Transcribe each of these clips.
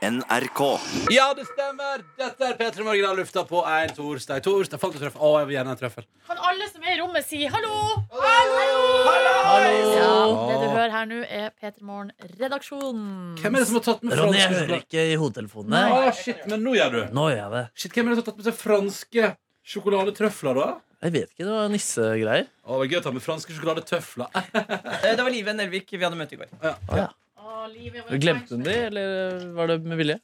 NRK. Ja, det stemmer! Dette er P3 Morgen har lufta på en torsdag. Torsdag fant du trøffel. Å, jeg vil gjerne ha en trøffel. Kan alle som er i rommet, si hallo? Ja, det du hører her nå, er P3 Morgen-redaksjonen. Hvem er det som har tatt med Ronny, jeg franske hører sjokolader? ikke i hodetelefonene. Å, shit, men nå gjør du. Nå gjør jeg det. Shit, Hvem er det som har tatt med seg franske sjokoladetrøfler, da? Jeg vet ikke, det var nissegreier. Å, det var gøy å ta med franske sjokoladetøfler. Eh, Eh, Det var Live Nelvik vi hadde møte i går. Å, livet vårt. Glemte hun de, eller var det med vilje?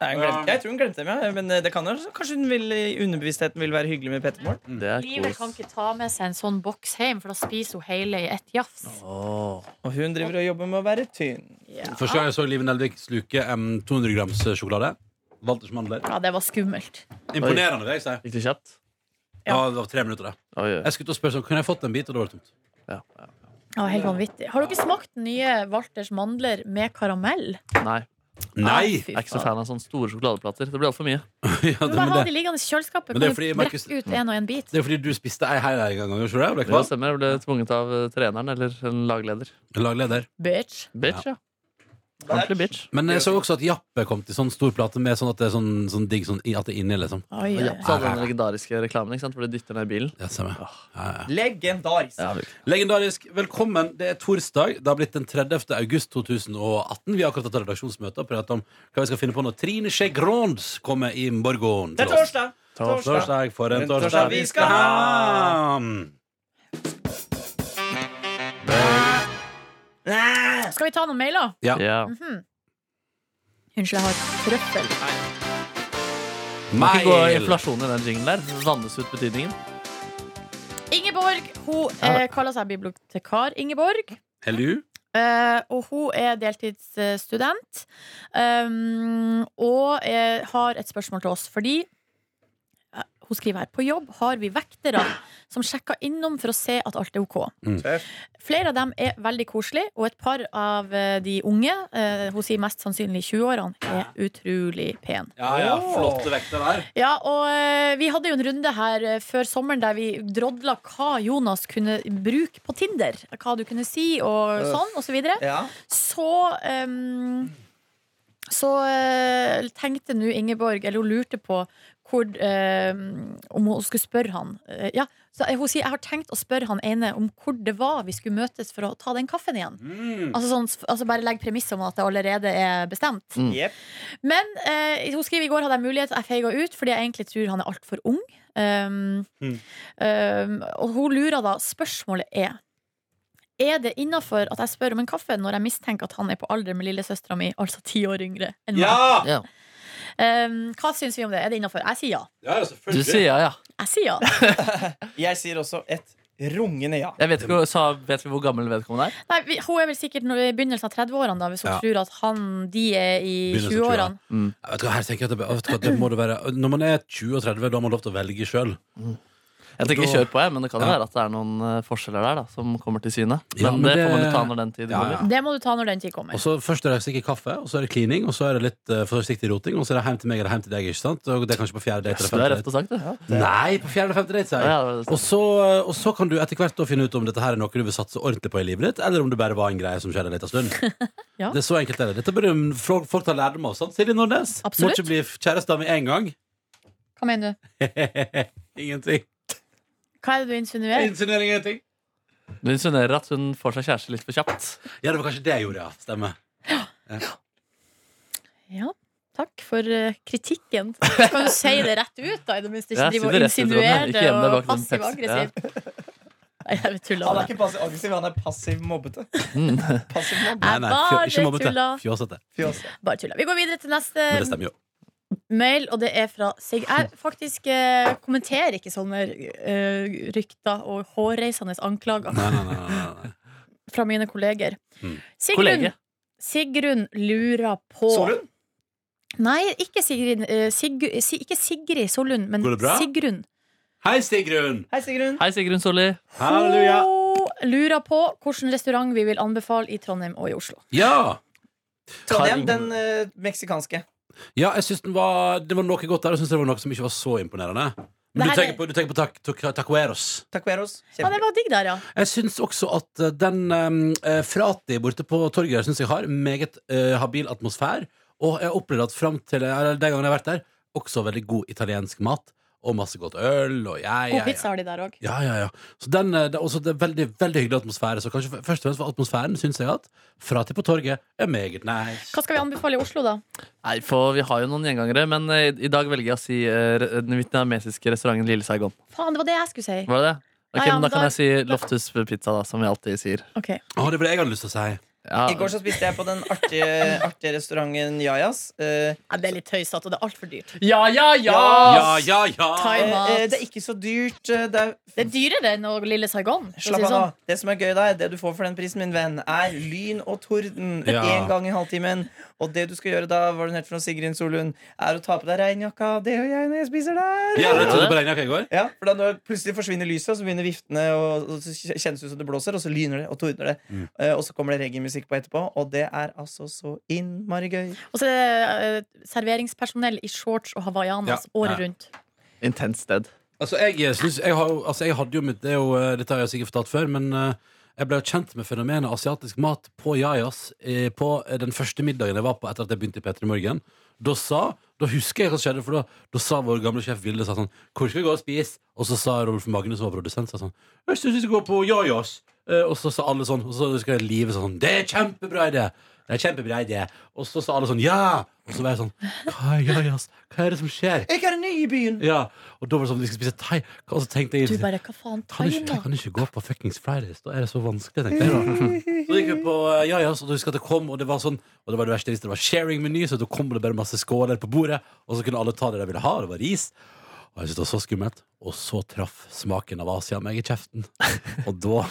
Nei, hun glemte, jeg tror hun glemte dem, ja. Men eh, det kan jo kanskje hun vil, i underbevisstheten vil være hyggelig med Petter Morn. Mm. Det er Livet kan kos. ikke ta med seg en sånn boks hjem, for da spiser hun hele i ett jafs. Åh. Og hun driver og jobber med å være tynn. Ja. Første gang jeg så Live Nelvik sluke em, 200 grams eh, sjokolade. Walters mandler. ja, det var skummelt. Imponerende, vil jeg si. Gikk det kjapt? Ja, det var tre minutter, det. Oi, oi. Jeg skulle til å spørre sånn, kunne jeg fått en bit, og det var det tomt. Ja. Ja, helt vanvittig. Har dere smakt den nye Walters mandler med karamell? Nei, Nei! Ah, fy jeg er ikke så faen. fan av sånne store sjokoladeplater. Det blir altfor mye. Ja, det, Du må men ha de det, liggende i kjøleskapet. Men det er Kan du fordi, brekke Markus- ut en og en bit? det er fordi du spiste ei hel en gang, gjorde du det? Ble Det kvalm? stemmer, jeg ble tvunget av eh, treneren eller en lagleder. Lagleder. Bitch. Bitch, ja. Ordentlig bitch. Men jeg så også at Jappe kom til sånn stor plate med sånn at det er sånn, sånn digg sånn, i- at det er inni, liksom. Oi, Og oi, Japs oi. hadde den legendariske reklamen ikke sant? hvor de dytter ned bilen. Ja, stemmer. Ja, ja. Legendarisk. Ja, Legendarisk. Velkommen. Det er torsdag. Det har blitt den 30. august 2018. Vi har akkurat hatt redaksjonsmøte og pratet om hva vi skal finne på når Trine Skei Grands kommer i morgen. Det er til oss. torsdag! Torsdag. Torsdag for en En torsdag vi skal ha! Nei. Skal vi ta noen mailer? Ja. ja. Mhm. Unnskyld, jeg har trøffel. Må ikke gå Mail. inflasjon i den jingen der. Vannes ut betydningen. Ingeborg hun eh, kaller seg bibliotekar Ingeborg. Hello. Eh, og hun er deltidsstudent. Um, og eh, har et spørsmål til oss, fordi eh, hun skriver her På jobb har vi vektere som sjekker innom for å se at alt er OK. Mm. Tøft. Flere av dem er veldig koselige, og et par av eh, de unge, eh, hun sier mest sannsynlig i 20-årene, er utrolig pen. Ja, ja. Flotte vekter der. Ja, og eh, vi hadde jo en runde her eh, før sommeren der vi drodla hva Jonas kunne bruke på Tinder. Hva du kunne si og Øff. sånn, og så videre. Ja. Så ehm, Så eh, tenkte nå Ingeborg, eller hun lurte på hvor, ehm, om hun skulle spørre han. Eh, ja, så Hun sier jeg har tenkt å spørre han ene om hvor det var vi skulle møtes for å ta den kaffen igjen. Mm. Altså, sånn, altså Bare legg premisset om at det allerede er bestemt. Jepp. Men eh, hun skriver i går hadde jeg mulighet, jeg feiga ut fordi jeg egentlig tror han er altfor ung. Um, Mm. um, og hun lurer da. Spørsmålet er Er det innafor at jeg spør om en kaffe når jeg mistenker at han er på alder med lillesøstera mi, altså ti år yngre enn meg? Ja! Ja. Um, hva syns vi om det? Er det innafor? Jeg sier ja. Ja, ja, Du selvfølgelig. sier ja, ja. Jeg sier ja. Jeg sier også et rungende ja. Jeg vet, ikke, sa, vet vi hvor gammel vedkommende er? Nei, vi, hun er vel sikkert nå i begynnelsen av 30-årene, da, hvis hun Ja. tror at han, de er i Begynnelsen av 20-årene. Jeg Vet du hva, her tenker jeg at det, vet du hva, det må det være Når man er 20 og 30, da har man lov til å velge sjøl. Jeg tenker Da- kjør på, jeg, men det kan jo Ja. være at det er noen eh, forskjeller der da, som kommer til syne. Men, Ja, men det det- får man jo ta når den tid Ja, ja. kommer. Det må du ta når den tid kommer. Og så Først er det sikkert kaffe, og så er det klining, og så er det litt eh, forsiktig roting, og så er det hjem til meg eller hjem til deg. ikke sant? Og det er kanskje på fjerde date Så eller femte det er rett date. og sagt, det. Nei, på fjerde eller femte date, sier jeg. Ja, det er- Og så, eh, og så kan du etter hvert da finne ut om dette her er noe du vil satse ordentlig på i livet ditt, eller om det bare var en greie som skjedde en liten stund. Ja. Det er så enkelt er det. Dette burde folk, folk ta lærdom av. sant? Silje Nordnes, Absolutt. må ikke bli kjæreste med en gang. Hva mener du? ingenting. Hva er det du insinuerer? Insinuering ingenting. Du insinuerer at hun får seg kjæreste litt for kjapt. Ja, det var kanskje det jeg gjorde, ja. Stemmer. Ja, takk for eh, kritikken. Kan du si det rett ut, da? I det minste ikke Ja, si drive og insinuere det rett ut, Ronny. Ikke det gjem deg og bak den Pepsi. passiv-aggressiv. Nei, jeg vil tulle Han er av det. ikke passiv aggressiv, han er passiv mobbete. Mm. Passiv mobbete. Nei, nei, fjø, Bare ikke mobbete. tulla. Fjåsete. Fjos. Bare tulla. Vi går videre til neste Men det stemmer jo. mail, og det er fra Sig. Jeg faktisk eh, kommenterer ikke sånne eh, rykter og hårreisende anklager Nei, nei, nei, nei, nei. fra mine kolleger. Mm. Sigrun, Kollege. Sigrun lurer på Solund? Nei, ikke Sigrid, eh, Sigru- Si- ikke Sigrid Sollund, men Går det bra? Sigrun. Hei, Sigrun! Hei, Sigrun. Hei, Sigrun Solli. Halleluja! Hun lurer på hvilken restaurant vi vil anbefale i Trondheim og i Oslo. Ja! Trondheim, den eh, meksikanske. Ja, jeg synes den var, det var noe godt der. Jeg synes det var noe som ikke var så imponerende. Men Det du her tenker er- på, du tenker på tac- tac- tacueros. Tacueros. Ja, det var digg der, ja. Jeg synes også at eh, den um, Frati borte på torget her synes jeg har meget eh, habil atmosfære. Og jeg opplevde at frem til eller, den gangen jeg har vært der, også veldig god italiensk mat. Og masse godt øl. Og ja, ja, God ja. pizza har de der òg. Ja, ja, ja. Så den, eh, det er også det er veldig, veldig hyggelig atmosfære. Så kanskje f- først og fremst for atmosfæren syns jeg at Fra til på torget er meget nice. Hva skal vi anbefale i Oslo, da? Nei, for vi har jo noen gjengangere, men eh, i, i dag velger jeg å si eh, re- den vietnamesiske restauranten Lille Saigon. Faen, det var det jeg skulle si. Var det det? Ok, Nei, ja, men da men kan da- jeg si Loftus pizza, da, som vi alltid sier. Ok. Å, det var det jeg hadde lyst til å si. Ja, I går så spiste jeg på den artige, artige restauranten Jajas. Eh, Ja, det er litt tøysete, og det er altfor dyrt. ja, ja! ja! Ja, ja, ja! Thai- eh, mat. eh, det er ikke så dyrt. eh, Det er Det er dyrere enn å Lille Saigon. for å Slapp si det av nå. sånn. Det som er gøy da, er det du får for den prisen, min venn, er lyn og torden Ja. én gang i halvtimen. Og det du skal gjøre da, hva den het for noe, Sigrun Solund, er å ta på deg regnjakka. Det gjør jeg når jeg spiser der. Ja, det trodde jeg på regnjakka i går. Ja, for da når plutselig forsvinner lyset, og så begynner viftene, og og så kj- kjennes det ut som det blåser, og så lyner det og tordner det. Mm. Eh, og så kommer det reggae-musikk på etterpå, og det er altså så innmari gøy. Og så er det eh, serveringspersonell i shorts og hawaiianas Ja. året Ja. rundt. Intenst sted. Altså, jeg, synes, jeg, har, jo- altså, jeg hadde jo mitt det er jo, eh, Dette har jeg sikkert fortalt før, men eh, jeg ble jo kjent med fenomenet asiatisk mat på Jajas eh, på eh, den første middagen jeg var på etter at jeg begynte i P3 Morgen. Da sa da husker jeg hva som skjedde, for da, da sa vår gamle sjef Vilde sa sånn 'Hvor skal vi gå og spise?' Og så sa Rolf Magne, som var produsent, sa sånn 'Jeg syns vi skal gå på Jajas'. Eh, Og så sa alle sånn, og så husker jeg livet sånn 'Det er kjempebra idé'. Det er kjempebra idé. Og så sa alle sånn 'Ja!' Og så var jeg sånn 'Hva er Jajas? Hva er det som skjer?' Jeg er ny i byen! Ja, og da var det sånn, vi skal spise thai Og så tenkte jeg Du bare, hva faen, kan du, ikke, Thailand? kan du ikke gå på fuckings Fridays? Da er det så vanskelig, tenkte jeg da. Så gikk vi på eh, Ja Ja, så du husker at det kom, og det var sånn Og det var det verste jeg visste, det var sharing-meny, så da kom det bare masse skåler på bordet, og så kunne alle ta det de ville ha, det var ris. Og jeg syntes det var så skummelt. Og så traff smaken av Asia meg i kjeften. Og da,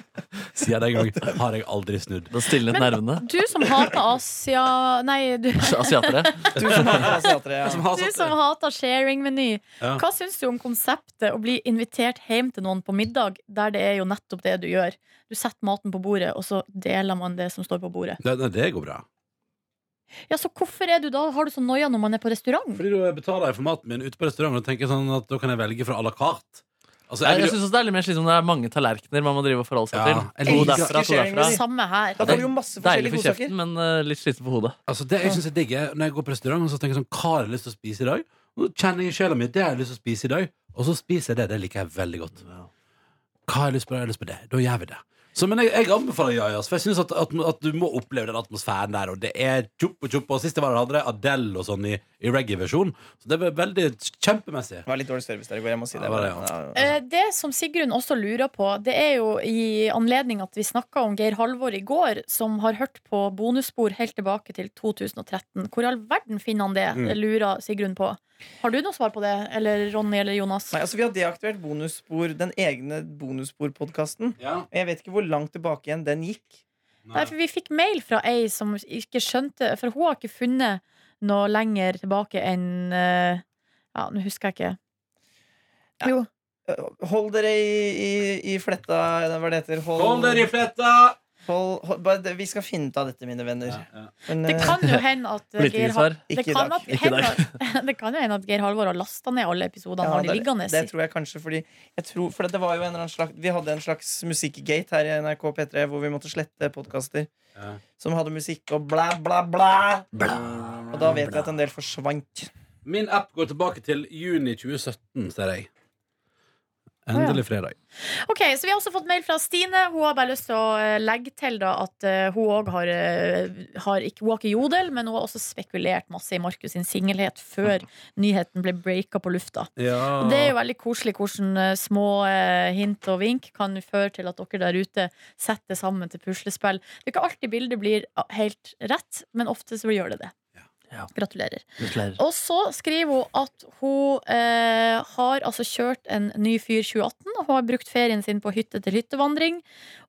siden den gang, har jeg aldri snudd. Da stilnet nervene. Du som hater Asia Nei, du, Asiatere. Du som har asiatere, ja. har du som hater sharing-meny. Ja. Hva syns du om konseptet å bli invitert hjem til noen på middag, der det er jo nettopp det du gjør? Du setter maten på bordet, og så deler man det som står på bordet. Nei, nei, det går bra. Ja, så hvorfor er du da, har du sånn noia når man er på restaurant? Fordi da betaler jeg for maten min ute på restauranten og tenker sånn at da kan jeg velge fra à la carte. Altså, Nei, jeg vil Jeg jo- synes også det er litt mer slitsomt når det er mange tallerkener man må drive og forholde seg Ja, jeg til. To liker- derfra, to Sharing derfra. menu. Samme her. Da får du jo masse Deilig forskjellige for godsaker. kjeften, men eh, litt slitsomt på hodet. Altså det jeg synes er digg er Når jeg går på restaurant og så tenker jeg sånn Hva har jeg lyst til å spise i dag? Nå kjenner jeg i sjela mi Det har jeg lyst til å spise i dag Og så spiser jeg det Det liker jeg veldig godt Hva har jeg lyst på? Jeg har lyst på det Da gjør vi det så, men jeg, jeg anbefaler Jajas, for jeg synes at, at, at du må oppleve den atmosfæren der, og det er tjopp og tjopp, og siste var det hadde det Adele og sånn i, i reggae-versjon, så det var veldig kjempemessig. Det var litt dårlig service der i går, jeg må si det. Ja, det var det, ja. Ja, ja. Eh, Det som Sigrun også lurer på, det er jo i anledning at vi snakka om Geir Halvor i går, som har hørt på bonusspor helt tilbake til 2013. Hvor i all verden finner han det, Mm. lurer Sigrun på. Har du noe svar på det, eller Ronny eller Jonas? Nei, altså Vi har deaktivert bonusspor, den egne bonussporpodkasten. Ja. Og jeg vet ikke hvor langt tilbake igjen den gikk. Nei, for vi fikk mail fra ei som ikke skjønte For hun har ikke funnet noe lenger tilbake enn eh, Ja, nå husker jeg ikke. Jo. Hold dere i, i, i fletta eller Hva det heter Hold, Hold dere i fletta! hold, hold, bare, det- Vi skal finne ut av dette, mine venner. Men, Det eh, kan jo hende at eh, Geir Hal- Politikersvar. det Ikke i kan dag. at- Ikke i dag. hende- Det kan jo hende at Geir Halvor har lasta ned alle episodene. ja, har de det- liggende Det tror jeg kanskje fordi jeg tror, For det var jo en eller annen slags Vi hadde en slags musikkgate her i NRK P3 hvor vi måtte slette podkaster Ja. som hadde musikk og blæ, blæ, blæ. Og da vet vi at en del forsvant. Min app går tilbake til juni 2017, ser jeg. Endelig fredag. Ok, så Vi har også fått mail fra Stine. Hun har bare lyst til å eh, legge til da at eh, hun òg har, eh, har ikke, hun har ikke jodel, men hun har også spekulert masse i Markus sin singelhet før nyheten ble breaka på lufta. Ja. Ah. Og Det er jo veldig koselig hvordan eh, små eh, hint og vink kan føre til at dere der ute setter sammen til puslespill. Det er ikke alltid bildet blir ah, helt rett, men ofte så gjør det det. Ja. Gratulerer. Gratulerer. Og så skriver hun at hun eh, har altså kjørt en ny fyr 2018. og Hun har brukt ferien sin på hytte til hyttevandring.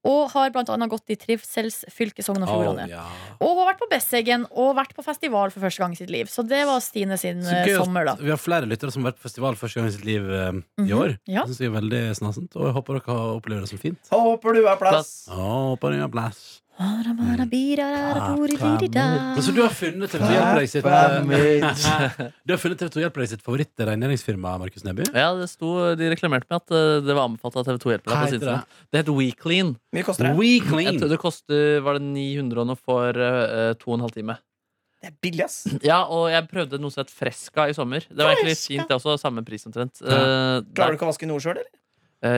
Og har blant annet gått i trivselsfylket Sogn Å, og Fjordane. ja. Og hun har vært på Besseggen og vært på festival for første gang i sitt liv. Så det var Stine sin Så eh, gøy at sommer, da. Vi har flere lyttere som har vært på festival første gang i sitt liv eh, i Mhm, år. ja. Det synes jeg er veldig snasent, og jeg håper dere har opplevd det som fint. Håper du har plass. Plass. Ja, håper dere har plass. Mm. Ah, Men så Arabiraraboriririda. du har funnet TV2 Hjelper deg sitt eh, Pappa mitt. Du har funnet TV2 Hjelper deg sitt favorittregneringsfirma, Markus Neby? Ja, det sto, De reklamerte med at eh, det var anbefalt av TV2 hjelper Hva deg på heter sidene. Det het WeClean. Mye koster det? We Jeg Clean. tror det koster var det 900 og noe for eh, to og en halv time. Det er billig, ass. Ja, og jeg prøvde noe som het Fresca i sommer. Det var egentlig litt Fresca. fint, det også. Samme pris omtrent. Eh, Klarer der, du ikke å vaske noe sjøl, eller?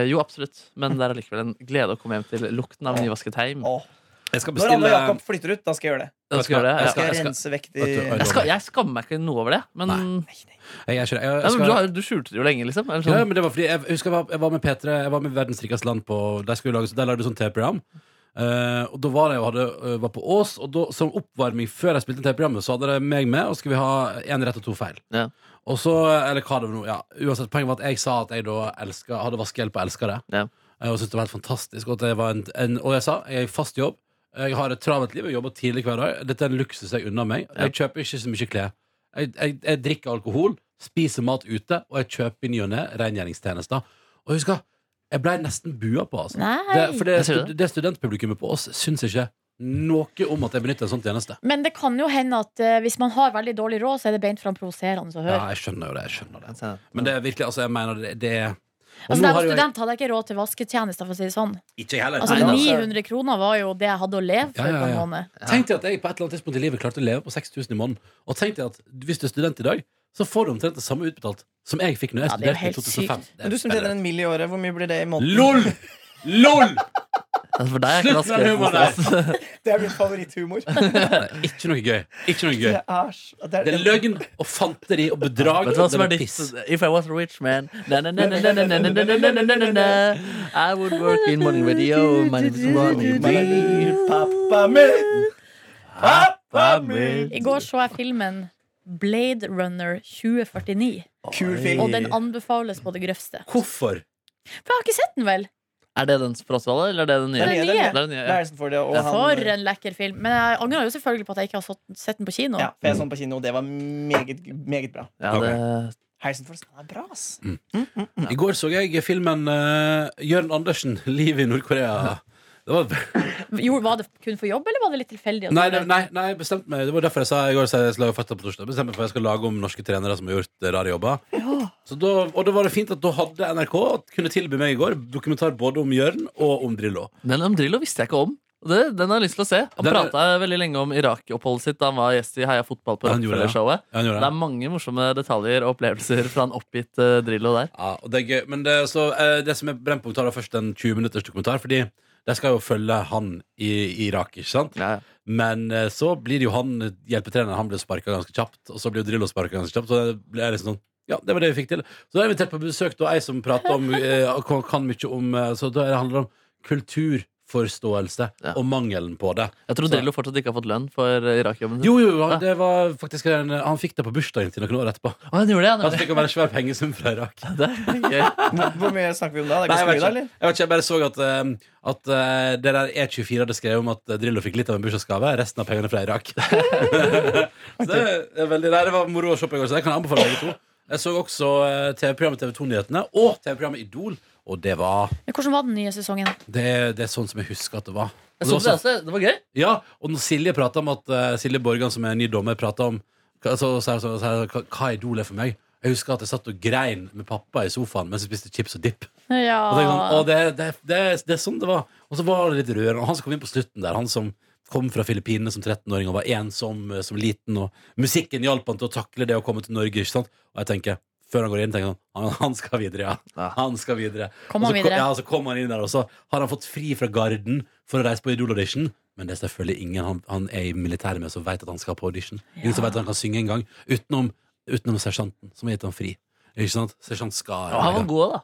eh, jo, absolutt. Men det er allikevel en glede å komme hjem til lukten av nyvasket heim. Åh. Jeg skal Når Anne bestille og Jakob flytter ut, da skal jeg gjøre det. Jeg skal, gjøre det. Da jeg, skal skal, jeg jeg, skal, rense vekk de Vet du, jeg- jeg, skal, jeg skammer meg ikke noe over det. Men, Nei. Nei, nei. Jeg er ikke det. Jeg, jeg Ja, men du, skal, har, du skjulte det jo lenge, liksom. Eller ja, sånn. men det var fordi jeg, jeg husker jeg var, jeg var med P3 Jeg var med Verdens rikeste land på Der, skulle vi lage, så der lagde du sånn TV-program. Eh, og da var jeg og hadde, eh, var på Ås, og da, som oppvarming før jeg spilte inn TV-programmet, så hadde de meg med, og så skulle vi ha én rett og to feil. Ja. Og så, eller hva det var nå, ja. Uansett, poenget var at jeg sa at jeg da elska, hadde vaskehjelp og elska det. Ja. Eh, Og syntes det var helt fantastisk. Og, at det var en, en, og jeg sa jeg er i fast jobb. Jeg har et travelt liv. Jeg jobber tidlig hver dag. Dette er en luksus jeg unner meg. Ja. Jeg kjøper ikke så mye klær. Jeg, jeg, jeg drikker alkohol, spiser mat ute, og jeg kjøper i ny og ne rengjøringstjenester. Og husk, hva, jeg blei nesten bua på, altså. Nei. Det, for det, Jeg ser stud, det studentpublikummet på oss syns ikke noe om at jeg benytter en sånn tjeneste. Men det kan jo hende at eh, hvis man har veldig dårlig råd, så er det beint fram provoserende å høre. Ja, jeg skjønner jo det. jeg skjønner det Men Men det det er virkelig, altså, jeg mener det, det er Og altså, nå da jeg har var jo jeg- student, hadde jeg ikke råd til vasketjenester, for å si det sånn. Ikke jeg heller. Altså, Nei, da, så- 900 kroner var jo det jeg hadde å leve for Ja, ja, på en ja. måned. Tenk deg at jeg på et eller annet tidspunkt i livet klarte å leve på 6000 i måneden. Og tenk deg at hvis du er student i dag, så får du omtrent det samme utbetalt som jeg fikk når jeg Ja, det er jo studerte i helt 2005. Det er Men du som tjener bedre. en mill i året, hvor mye blir det i måneden? LOL! LOL! for deg er ikke altså. Slutt med den humoren vaskehjelpen. Det er min favoritthumor. Ikke noe gøy. Ikke noe gøy. Det er, s- det Det er er, løgn og fanteri og bedrag. Vet du hva som og er det ditt? piss. If I was a rich man na, na, na, na, na, na, na, na, na, na, na, na, na. I would work in morning radio My name is Ronny B. Pappa min! Pappa min! I går så jeg filmen Blade Runner 2049, Kul film. og den anbefales på det grøvste. Hvorfor? For jeg har ikke sett den, vel? Er det den Sprosvolle, eller er det den nye? Den nye, den nye. Det er den nye, Det ja. er liksom for det, og For han en lekker film. Men jeg angrer jo selvfølgelig på at jeg ikke har satt- sett den på kino. ja, for jeg så den på kino, og det var meget, meget bra. Ja, det, Harrison Ford han er bra, ass. Mm. I går så jeg filmen uh, Jørn Andersen, 'Livet i Nord-Korea'. Det var Jo, var det kun for jobb, eller var det litt tilfeldig? at Nei, du ble- det, nei, nei, jeg bestemte meg Det var derfor jeg sa i går sa jeg skal lage fakta på torsdag. Jeg Bestemte meg for at jeg skal lage om norske trenere som har gjort eh, rare jobber. Så da, og da var det fint at da hadde NRK kunne tilby meg i går dokumentar både om Jørn og om Drillo. den om Drillo visste jeg ikke om. Det, den har jeg lyst til å se. Han Den er- prata veldig lenge om Irak-oppholdet sitt da han var gjest i Heia fotball på Ja, han gjorde det, ja. Rockefeller-showet. Ja, han gjorde Det er mange morsomme detaljer og opplevelser fra en oppgitt eh, Drillo der. Ja, og det er gøy. Men det, så, eh, det som er Brennpunkt, har da først en 20 minutters dokumentar, fordi de skal jo følge han i, i Irak, ikke sant? Ja, ja. Men eh, så blir det jo han eh, hjelpetreneren, han blir sparka ganske kjapt, og så blir jo Drillo sparka ganske kjapt, og det blir liksom sånn ja, det var det vi fikk til. Så da har jeg invitert på besøk da ei som prater om eh, og kan- kan mye om eh, Så da handler det om kulturforståelse Ja. og mangelen på det. Jeg tror Så- Drillo fortsatt ikke har fått lønn for eh, Irak-jobben sin. Jo, jo, han, det var faktisk en, Han fikk det på bursdagen til noen år etterpå. Altså, Å, han gjorde det, Han fikk en veldig svær pengesum fra Irak. ja. Det er gøy. Hvor, hvor mye snakker vi om da? Det er Nei, jeg, ikke så mye, vet da, ikke. eller? jeg vet ikke, jeg bare så at, eh, at eh, det der E24 hadde skrevet om at eh, Drillo fikk litt av en bursdagsgave, resten av pengene fra Irak. så det, er veldig, nei, det var moro å se på i går, så det kan jeg anbefale begge to. Jeg så også eh, TV-programmet TV 2-nyhetene og TV-programmet Idol, og det var Men Hvordan var den nye sesongen? Det, det er sånn som jeg husker at det var. Og Jeg det så var det så- også. Det var gøy. ja, og når Silje prater om at eh, Silje Borgan, som er ny dommer, prater om hva- så, så, så, så, hva- hva Idol er for meg. Jeg husker at jeg satt og grein med pappa i sofaen mens jeg spiste chips og dipp. Og tenkte sånn, «Å, Ja, det, det, det, det er sånn det var. Og så var det litt rørende. Og han som kom inn på slutten der, han som kom fra Filippinene som 13-åring og var ensom eh, som liten, og musikken hjalp han til å takle det å komme til Norge, ikke sant? Og jeg tenker, før han går inn, tenker jeg sånn han, han skal videre, ja. Ja. Han skal videre. Kom Og han så videre. ja, og så kom han inn der, og så har han fått fri fra garden for å reise på Idol-audition. Men det er selvfølgelig ingen han, han er i militæret med som vet at han skal på audition. Ingen som vet at han kan synge engang. Utenom, utenom sersjanten, som har gitt ham fri. Ikke sant? Sersjant Skar. Og han var god, da.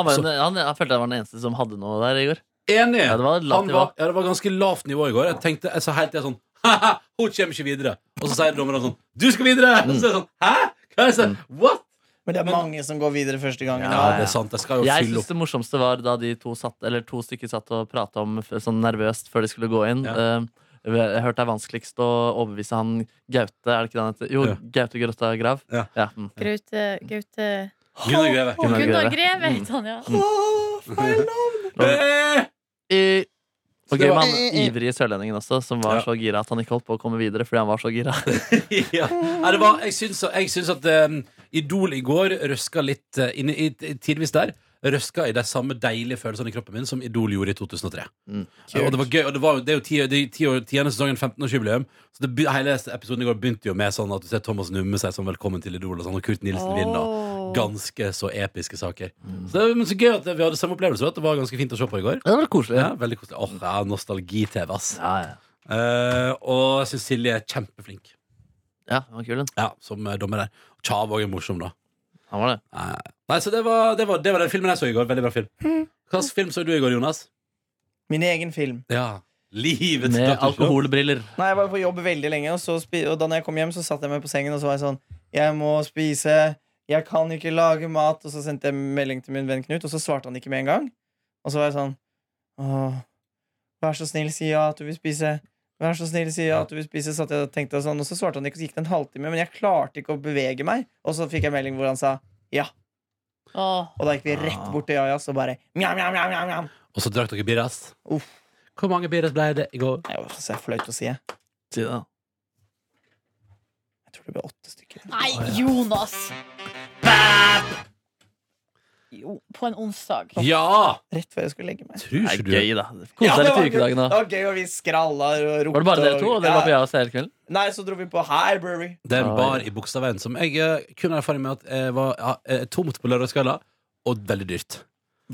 Han, var Så- en, han, jeg følte jeg var den eneste som hadde noe der i går. Enig! Ja, det var et lavt Han var, nivå. ja, det var ganske lavt nivå i går. Jeg tenkte, jeg sa helt til jeg sånn Haha, hun kommer ikke videre. Og så sier dommerne sånn Du skal videre! Og så er jeg sånn Hæ? Hva er det? jeg sier? Mm. What? Men det er mange som går videre første gangen. Ja, da. det er sant. Jeg skal jo Jeg fylle syns opp. det morsomste var da de to, satt, eller to stykker satt og prata om f- sånn nervøst før de skulle gå inn. Ja. Eh, jeg hørte det er vanskeligst å overbevise han Gaute Er det ikke det han heter? Jo, Ja. Gaute Grøtta Grav. Ja. mm. Gaute, Gaute Gunnar Greve. Gunnar Gunnar Greve. Greve het han, ja. Mm. Åh, feil navn! Eh! I- Og Så det gøy med var- han ivrige sørlendingen også, som var Ja. så gira at han ikke holdt på å komme videre fordi han var så gira. ja. Nei, ehm, det var, jeg, syns, jeg syns at eh, Idol i går røska litt eh, inn i, i, tidvis der. røska i de samme deilige følelsene i kroppen min som Idol gjorde i 2003. Mm. Og det var gøy, og det, var, jo- det er jo ti- det er ti år- tiende sesongen, 15-årsjubileum. Så det, be- hele episoden i går begynte jo med sånn at du ser Thomas numme seg som 'Velkommen til Idol', og, sånn, og Kurt Nilsen vinner. Åh. Ganske så episke saker. Så det, men så gøy at vi hadde samme opplevelse. og At det var ganske fint å se på i går. Det var koselig. Ja, veldig koselig. Åh, ja, Nostalgi-TV, ass. Ja, ja. Eh, og jeg syns Silje er kjempeflink ja han var kul, den. Ja, som eh, dommer der. Tjav òg er morsom, da. Han var det. Eh, Nei, så det var, det, var, det var den filmen jeg så i går. Veldig bra film. Mm. Hva slags film så du i går, Jonas? Min egen film. Ja, Livets Med Dr. Show. alkoholbriller. Nei, jeg var på jobb veldig lenge, og, så spi og da når jeg kom hjem, så satt jeg meg på sengen og så var jeg sånn Jeg må spise, jeg kan ikke lage mat. Og så sendte jeg melding til min venn Knut, og så svarte han ikke med en gang. Og så var jeg sånn Åh, vær så snill, si ja at du vil spise. Vær så snill, si ja at du vil spise. Satt jeg og tenkte og sånn, og så svarte han ikke, og så gikk det en halvtime, men jeg klarte ikke å bevege meg. Og så fikk jeg melding hvor han sa ja. Åh. Og da gikk vi rett bort til Jajas og bare mjau, mjau, mjau, mjau, mjau. Og så drakk dere birras. Uff. Hvor mange birras ble det i går? Det var så flaut å si. Jeg Si det, da. Jeg tror det ble åtte stykker. Nei, Jonas! Jo, på en onsdag. Ja! Rett før jeg skulle legge meg. Tror Det er ikke du gøy, da. Kos Ja, deg det litt var i ukedagen, gøy. da. Det var gøy, og vi skralla og ropte. Var det bare dere to? Og dere ja. var på Jazz hele kvelden? Nei, så dro vi på Highbury. Det er en Oi. bar i Bogstadveien som jeg eh, kun har erfaring med at eh, var ja, eh, tomt på lørdagskvelda, og veldig dyrt.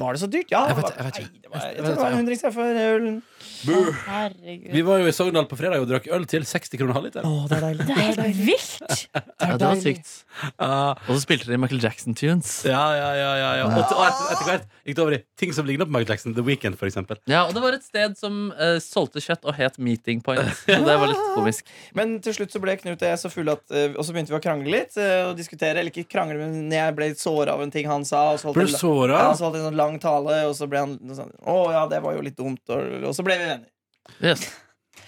Var det så dyrt? Ja. Jeg vet- det var- jeg vet ikke. Nei, det var, jeg Jeg tror vet- det var ja. 100 seg for ølen. Å, herregud. Vi var jo i Sogndal på fredag og drakk øl til 60 kroner halvliteren. Å, det er deilig. Det er helt vilt! Ja, det var sykt. Ja, Og så spilte de Michael Jackson-tunes. ja, ja, ja, ja. Og, til, og etter, etter hvert gikk det over i ting som ligner på Michael Jackson. The Weekend, for eksempel. Ja, og det var et sted som eh, solgte kjøtt og het Meeting Point. Så det var litt komisk. Men til slutt så ble Knut og jeg så fulle at eh, Og så begynte vi å krangle litt. eh, Og diskutere, eller ikke krangle, men jeg ble såra av en ting han sa. Og så holdt Ble jeg du la- såra? Ja, han så holdt jeg en sånn lang tale, og så ble han sånn Å ja, det var jo litt dumt. Og, og så ble vi venner. Yes.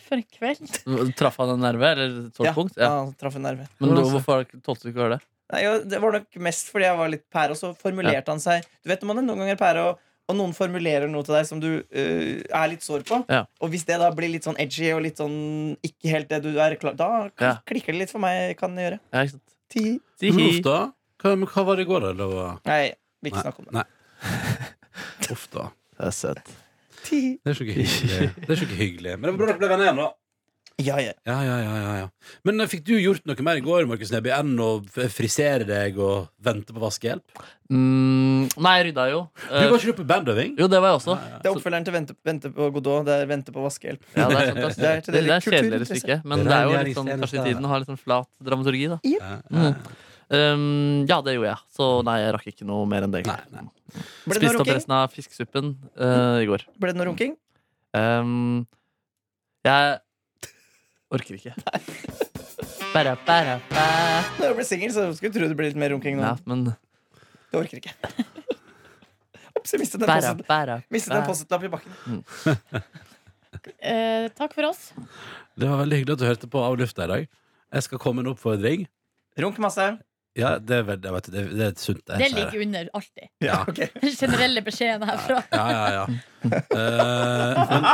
For en kveld. Traff han en nerve? Eller et sånt punkt? Ja. han traff en nerve. Men da, hvorfor tålte du ikke å høre det? Nei, jo, det var nok mest fordi jeg var litt pære, og så formulerte han seg Du vet når man er noen ganger pære, og, og noen formulerer noe til deg som du øh, er litt sår på, Ja. og hvis det da blir litt sånn edgy og litt sånn ikke helt det du er klar Da k- Ja. klikker det litt for meg, kan jeg gjøre. Ja, ikke sant? Ti. Men Tihi. uff da. Hva, men hva var det i går, da? Det var- Nei, vil ikke Nei. snakke om det. Nei. Uff da. Det er søtt. Ti. Det er så ikke hyggelig. Det er så ikke hyggelig. Men det var bra dere ble venner igjen, da. Ja, ja. Ja, ja, ja, ja, ja. Men eh, fikk du gjort noe mer i går, Markus Neby, enn å f- eh, frisere deg og vente på vaskehjelp? Mm, nei, jeg rydda jo. Du Eh, var ikke du på bandøving? jo, det var jeg også. Det er oppfølgeren til Vente, vente på Godot. Det er Vente på vaskehjelp. Ja, det er sant, ass. Det er til det, det det er kultur- kjedeligere stykke, men Det det, er er jo en litt sånn, gjerne kanskje tjeneste, tiden har litt sånn flat dramaturgi, da. Ja, ja. Mm. Um, ja, det gjorde jeg. Så nei, jeg rakk ikke noe mer enn det. egentlig. Ble det noe Spiste opp runking? resten av fiskesuppen eh, i går. Ble det noe runking? Um, jeg orker ikke. Bare, bare, bare. Når jeg ble singel, så skulle jeg tro det ble litt mer runking nå. Ja, men Det orker ikke. Ops, jeg mistet en bare, post- bare, mistet en post-it-lapp i bakken. Eh, takk for oss. Det var veldig hyggelig at du hørte på Av lufta i dag. Jeg skal komme med en oppfordring. Runk masse. Ja, det er, veldig, jeg vet, det, det er sunt. Det, Det så er det. ligger under alltid. Ja. Ok. Den generelle beskjeden herfra. Ja, ja, ja. Eh, men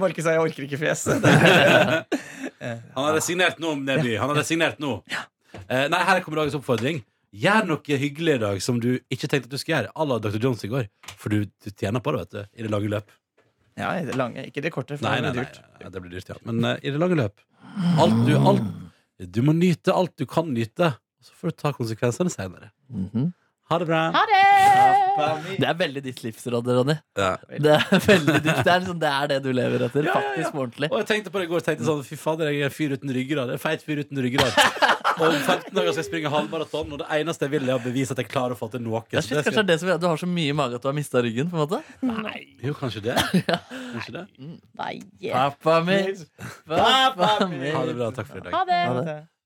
Markus sa jeg orker ikke fjeset. han har resignert nå, Neby. Han har resignert nå. Eh, nei, her kommer dagens oppfordring. Gjør noe hyggelig i dag som du ikke tenkte at du skulle gjøre. À la Dr. Jones i går. For du, du tjener på det, vet du. I det lange løp. Ja, i det lange, ikke det korte. For Nei, nei, nei, det blir dyrt. nei, det blir dyrt, ja. Men eh, i det lange løp alt du, alt, du må nyte alt du kan nyte, og så får du ta konsekvensene senere. Mhm. Ha det bra. Ha det! Det er veldig ditt livsråd, Ronny. Ja. Det er veldig ditt, det er, liksom, det er det du lever etter. Ja, ja, ja. Faktisk på ordentlig. Og jeg tenkte på det i går. tenkte sånn, Fy fader, jeg er en fyr uten ryggrad. En feit fyr uten ryggrad. Og om 15 dager skal jeg springe halvmaraton, og det eneste jeg vil, er å bevise at jeg klarer å få til noe. Ja, Så shit, det kanskje det skal- er det som gjør at du har så mye mage at du har mista ryggen? på en måte Jo, kanskje det. Kanskje det. Nei. Pappa min! Pappa min! Ha det bra. Takk for i dag. Ha det! Ja, det-